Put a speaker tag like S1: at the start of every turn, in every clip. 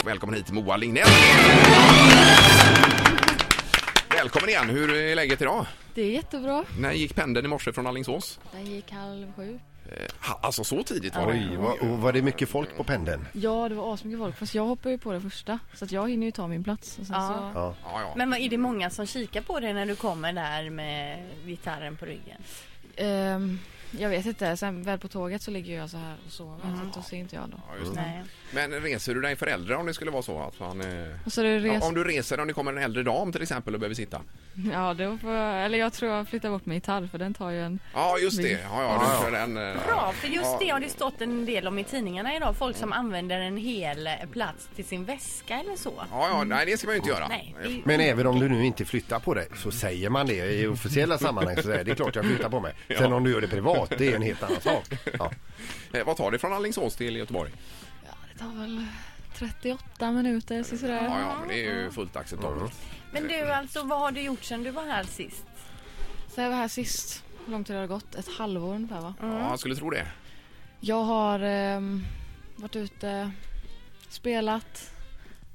S1: och välkommen hit Moa Lignell. Välkommen igen, hur är läget idag?
S2: Det är jättebra.
S1: När gick pendeln i morse från Alingsås?
S2: Den gick halv sju.
S1: Eh, ha- Alltså så tidigt var det.
S3: Oj, vad, och var det mycket folk på pendeln?
S2: Ja, det var asmycket folk. Fast jag hoppar ju på det första. Så att jag hinner ju ta min plats. Och sen
S4: Ja.
S2: så...
S3: Ja.
S1: Ja, ja.
S4: Men vad, är det många som kikar på dig när du kommer där med gitarren på ryggen?
S2: Ehm, jag vet inte. Sen väl på tåget så ligger jag så här och sover. Så att då ser inte jag då.
S1: Ja, just det.
S4: Nej.
S1: Men reser du dig för äldre om det skulle vara så att man... eh,
S2: Och så är det res...
S1: Om du reser, om det kommer en äldre dam till exempel och behöver sitta.
S2: Ja, då får jag... Eller jag tror jag flyttar bort min gitarr för den tar ju en...
S1: Ja, just det. Ja, ja, du kör den. eh,
S4: Bra, för just
S1: ja.
S4: det har det stått en del om i tidningarna idag. Folk
S1: Mm.
S4: som använder en hel eh, plats till sin väska eller så.
S1: Ja, ja, nej det ska man ju inte göra.
S4: Nej, det är ju-
S3: Men även om du nu inte flyttar på dig så säger man det i officiella sammanhang. Så säger jag, det är klart jag flyttar på mig. Sen om du gör det privat, det är en helt annan sak. Ja.
S1: Eh, Vad tar det från Alingsås till Göteborg?
S2: Ja, det tar väl 38 minuter så sådär.
S1: Ja, ja, men det är ju fullt acceptabelt.
S4: Men du alltså, vad har du gjort sedan du var här sist?
S2: Så jag var här sist. Hur lång tid har det gått? Ett halvår ungefär va?
S1: Ja, jag skulle tro det.
S2: Jag har ehm, varit ute, spelat,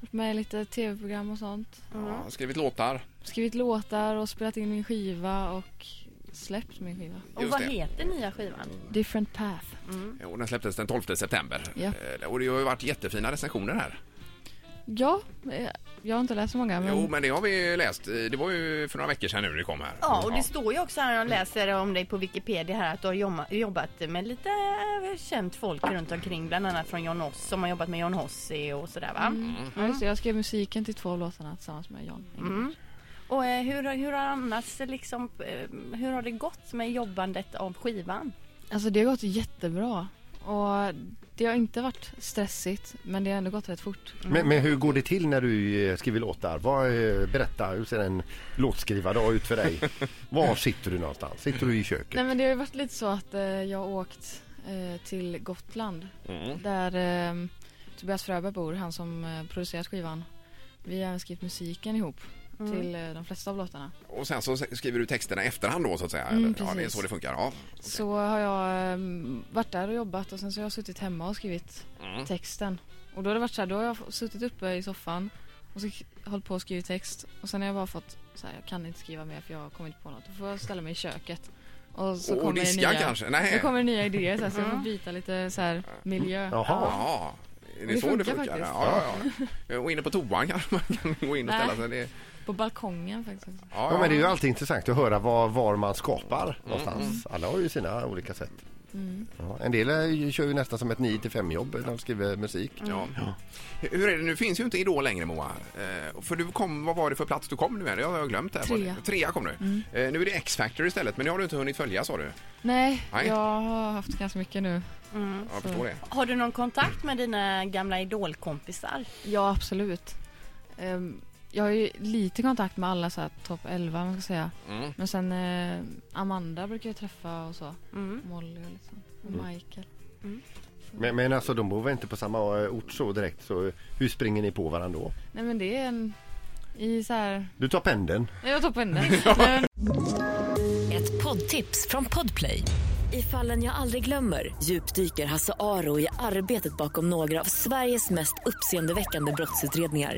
S2: varit med i lite tv-program och sånt.
S1: Ja, skrivit låtar.
S2: Skrivit låtar och spelat in min skiva och släppt min skiva.
S4: Och
S1: Just
S4: vad
S1: det.
S4: heter nya skivan?
S2: Different path.
S1: Eh, Och den släpptes den 12 september.
S2: Ja.
S1: Eh, Och det har ju varit jättefina recensioner här.
S2: Ja, eh, jag har inte läst så många men
S1: Jo, men det har vi läst. Eh, Det var ju för några veckor sedan nu det kom här.
S4: Ja, och det står ju också här när jag läser om dig på Wikipedia här att du har jomma- jobbat med lite eh, känt folk runt omkring, bland annat från John Hoss som har jobbat med John Hossi och sådär va?
S1: Mm.
S2: ja, just det, jag skrev musiken till två av låtarna tillsammans med John.
S1: Mm.
S4: Och eh, hur, har- hur har annars liksom, eh, hur har det gått med jobbandet av skivan?
S2: Alltså det har gått jättebra. Och det har inte varit stressigt men det har ändå gått rätt fort.
S3: Men, men hur går det till när du eh, skriver låtar? Vad, eh, berätta, hur ser en låtskrivardag ut för dig? Var sitter du någonstans? Sitter du i köket?
S2: Nej men det har ju varit lite så att eh, jag har åkt eh, till Gotland
S1: Mm.
S2: där eh, Tobias Fröberg bor, han som eh, producerat skivan. Vi har även skrivit musiken ihop till eh, de flesta av låtarna.
S1: Och sen så skriver du texterna i efterhand då så att säga.
S2: Mm,
S1: eller? ja, det är
S2: precis.
S1: så det funkar. Ja.
S2: Så har jag eh, varit där och jobbat och sen så har jag suttit hemma och skrivit
S1: Mm.
S2: texten. Och då har det varit så här, då har jag f- suttit uppe i soffan och så k- hållit på och skrivit text och sen har jag bara fått så här, jag kan inte skriva mer för jag har kommit på något. Då får jag ställa mig i köket. Och så
S1: Och
S2: kommer det
S1: diska
S2: nya-
S1: kanske? Nej.
S2: Nu kommer det nya idéer så, här, så jag får byta lite så här miljö.
S3: Jaha.
S1: Ja, är det,
S2: Det
S1: så det
S2: funkar
S1: funkar?
S2: faktiskt.
S1: Ja, ja, ja. Eh, Och inne på toan kanske man kan gå in och
S2: Nej.
S1: ställa sig. Det,
S2: På balkongen faktiskt.
S1: ja,
S3: Ja, men det är ju
S1: ja.
S3: alltid intressant att höra var, var man skapar någonstans. Alla har ju sina olika sätt.
S2: Mm.
S3: Ja, en del eh, kör ju nästan som ett 9-5 jobb när de skriver musik.
S1: Ja. Hur är det, nu finns ju inte Idol längre Moa. Eh, för du kom, vad var det för plats du kom nu med? Det har jag glömt. Här.
S2: Trea. Mm.
S1: Trea kom du. Eh, nu är det X-Factor istället, men det har du inte hunnit följa sa du.
S2: Nej,
S1: Nej.
S2: jag har haft ganska mycket nu.
S1: Jag förstår det.
S4: Har du någon kontakt med dina gamla idolkompisar?
S2: Ja, absolut. Ehm, jag har ju lite kontakt med alla så här topp 11 man ska säga.
S1: Mm.
S2: Men sen eh, Amanda brukar jag träffa och så.
S4: Mm.
S2: Molly och liksom. Och Michael.
S3: Men, men alltså de bor väl inte på samma eh, ort så direkt så eh, hur springer ni på varandra då?
S2: Nej men det är en... I så här...
S3: Du tar pendeln.
S2: Nej, Jag tar på henne. Nej, men-
S5: Ett poddtips från Podplay. I fallen jag aldrig glömmer djupdyker Hasse Aro i arbetet bakom några av Sveriges mest uppseendeväckande brottsutredningar.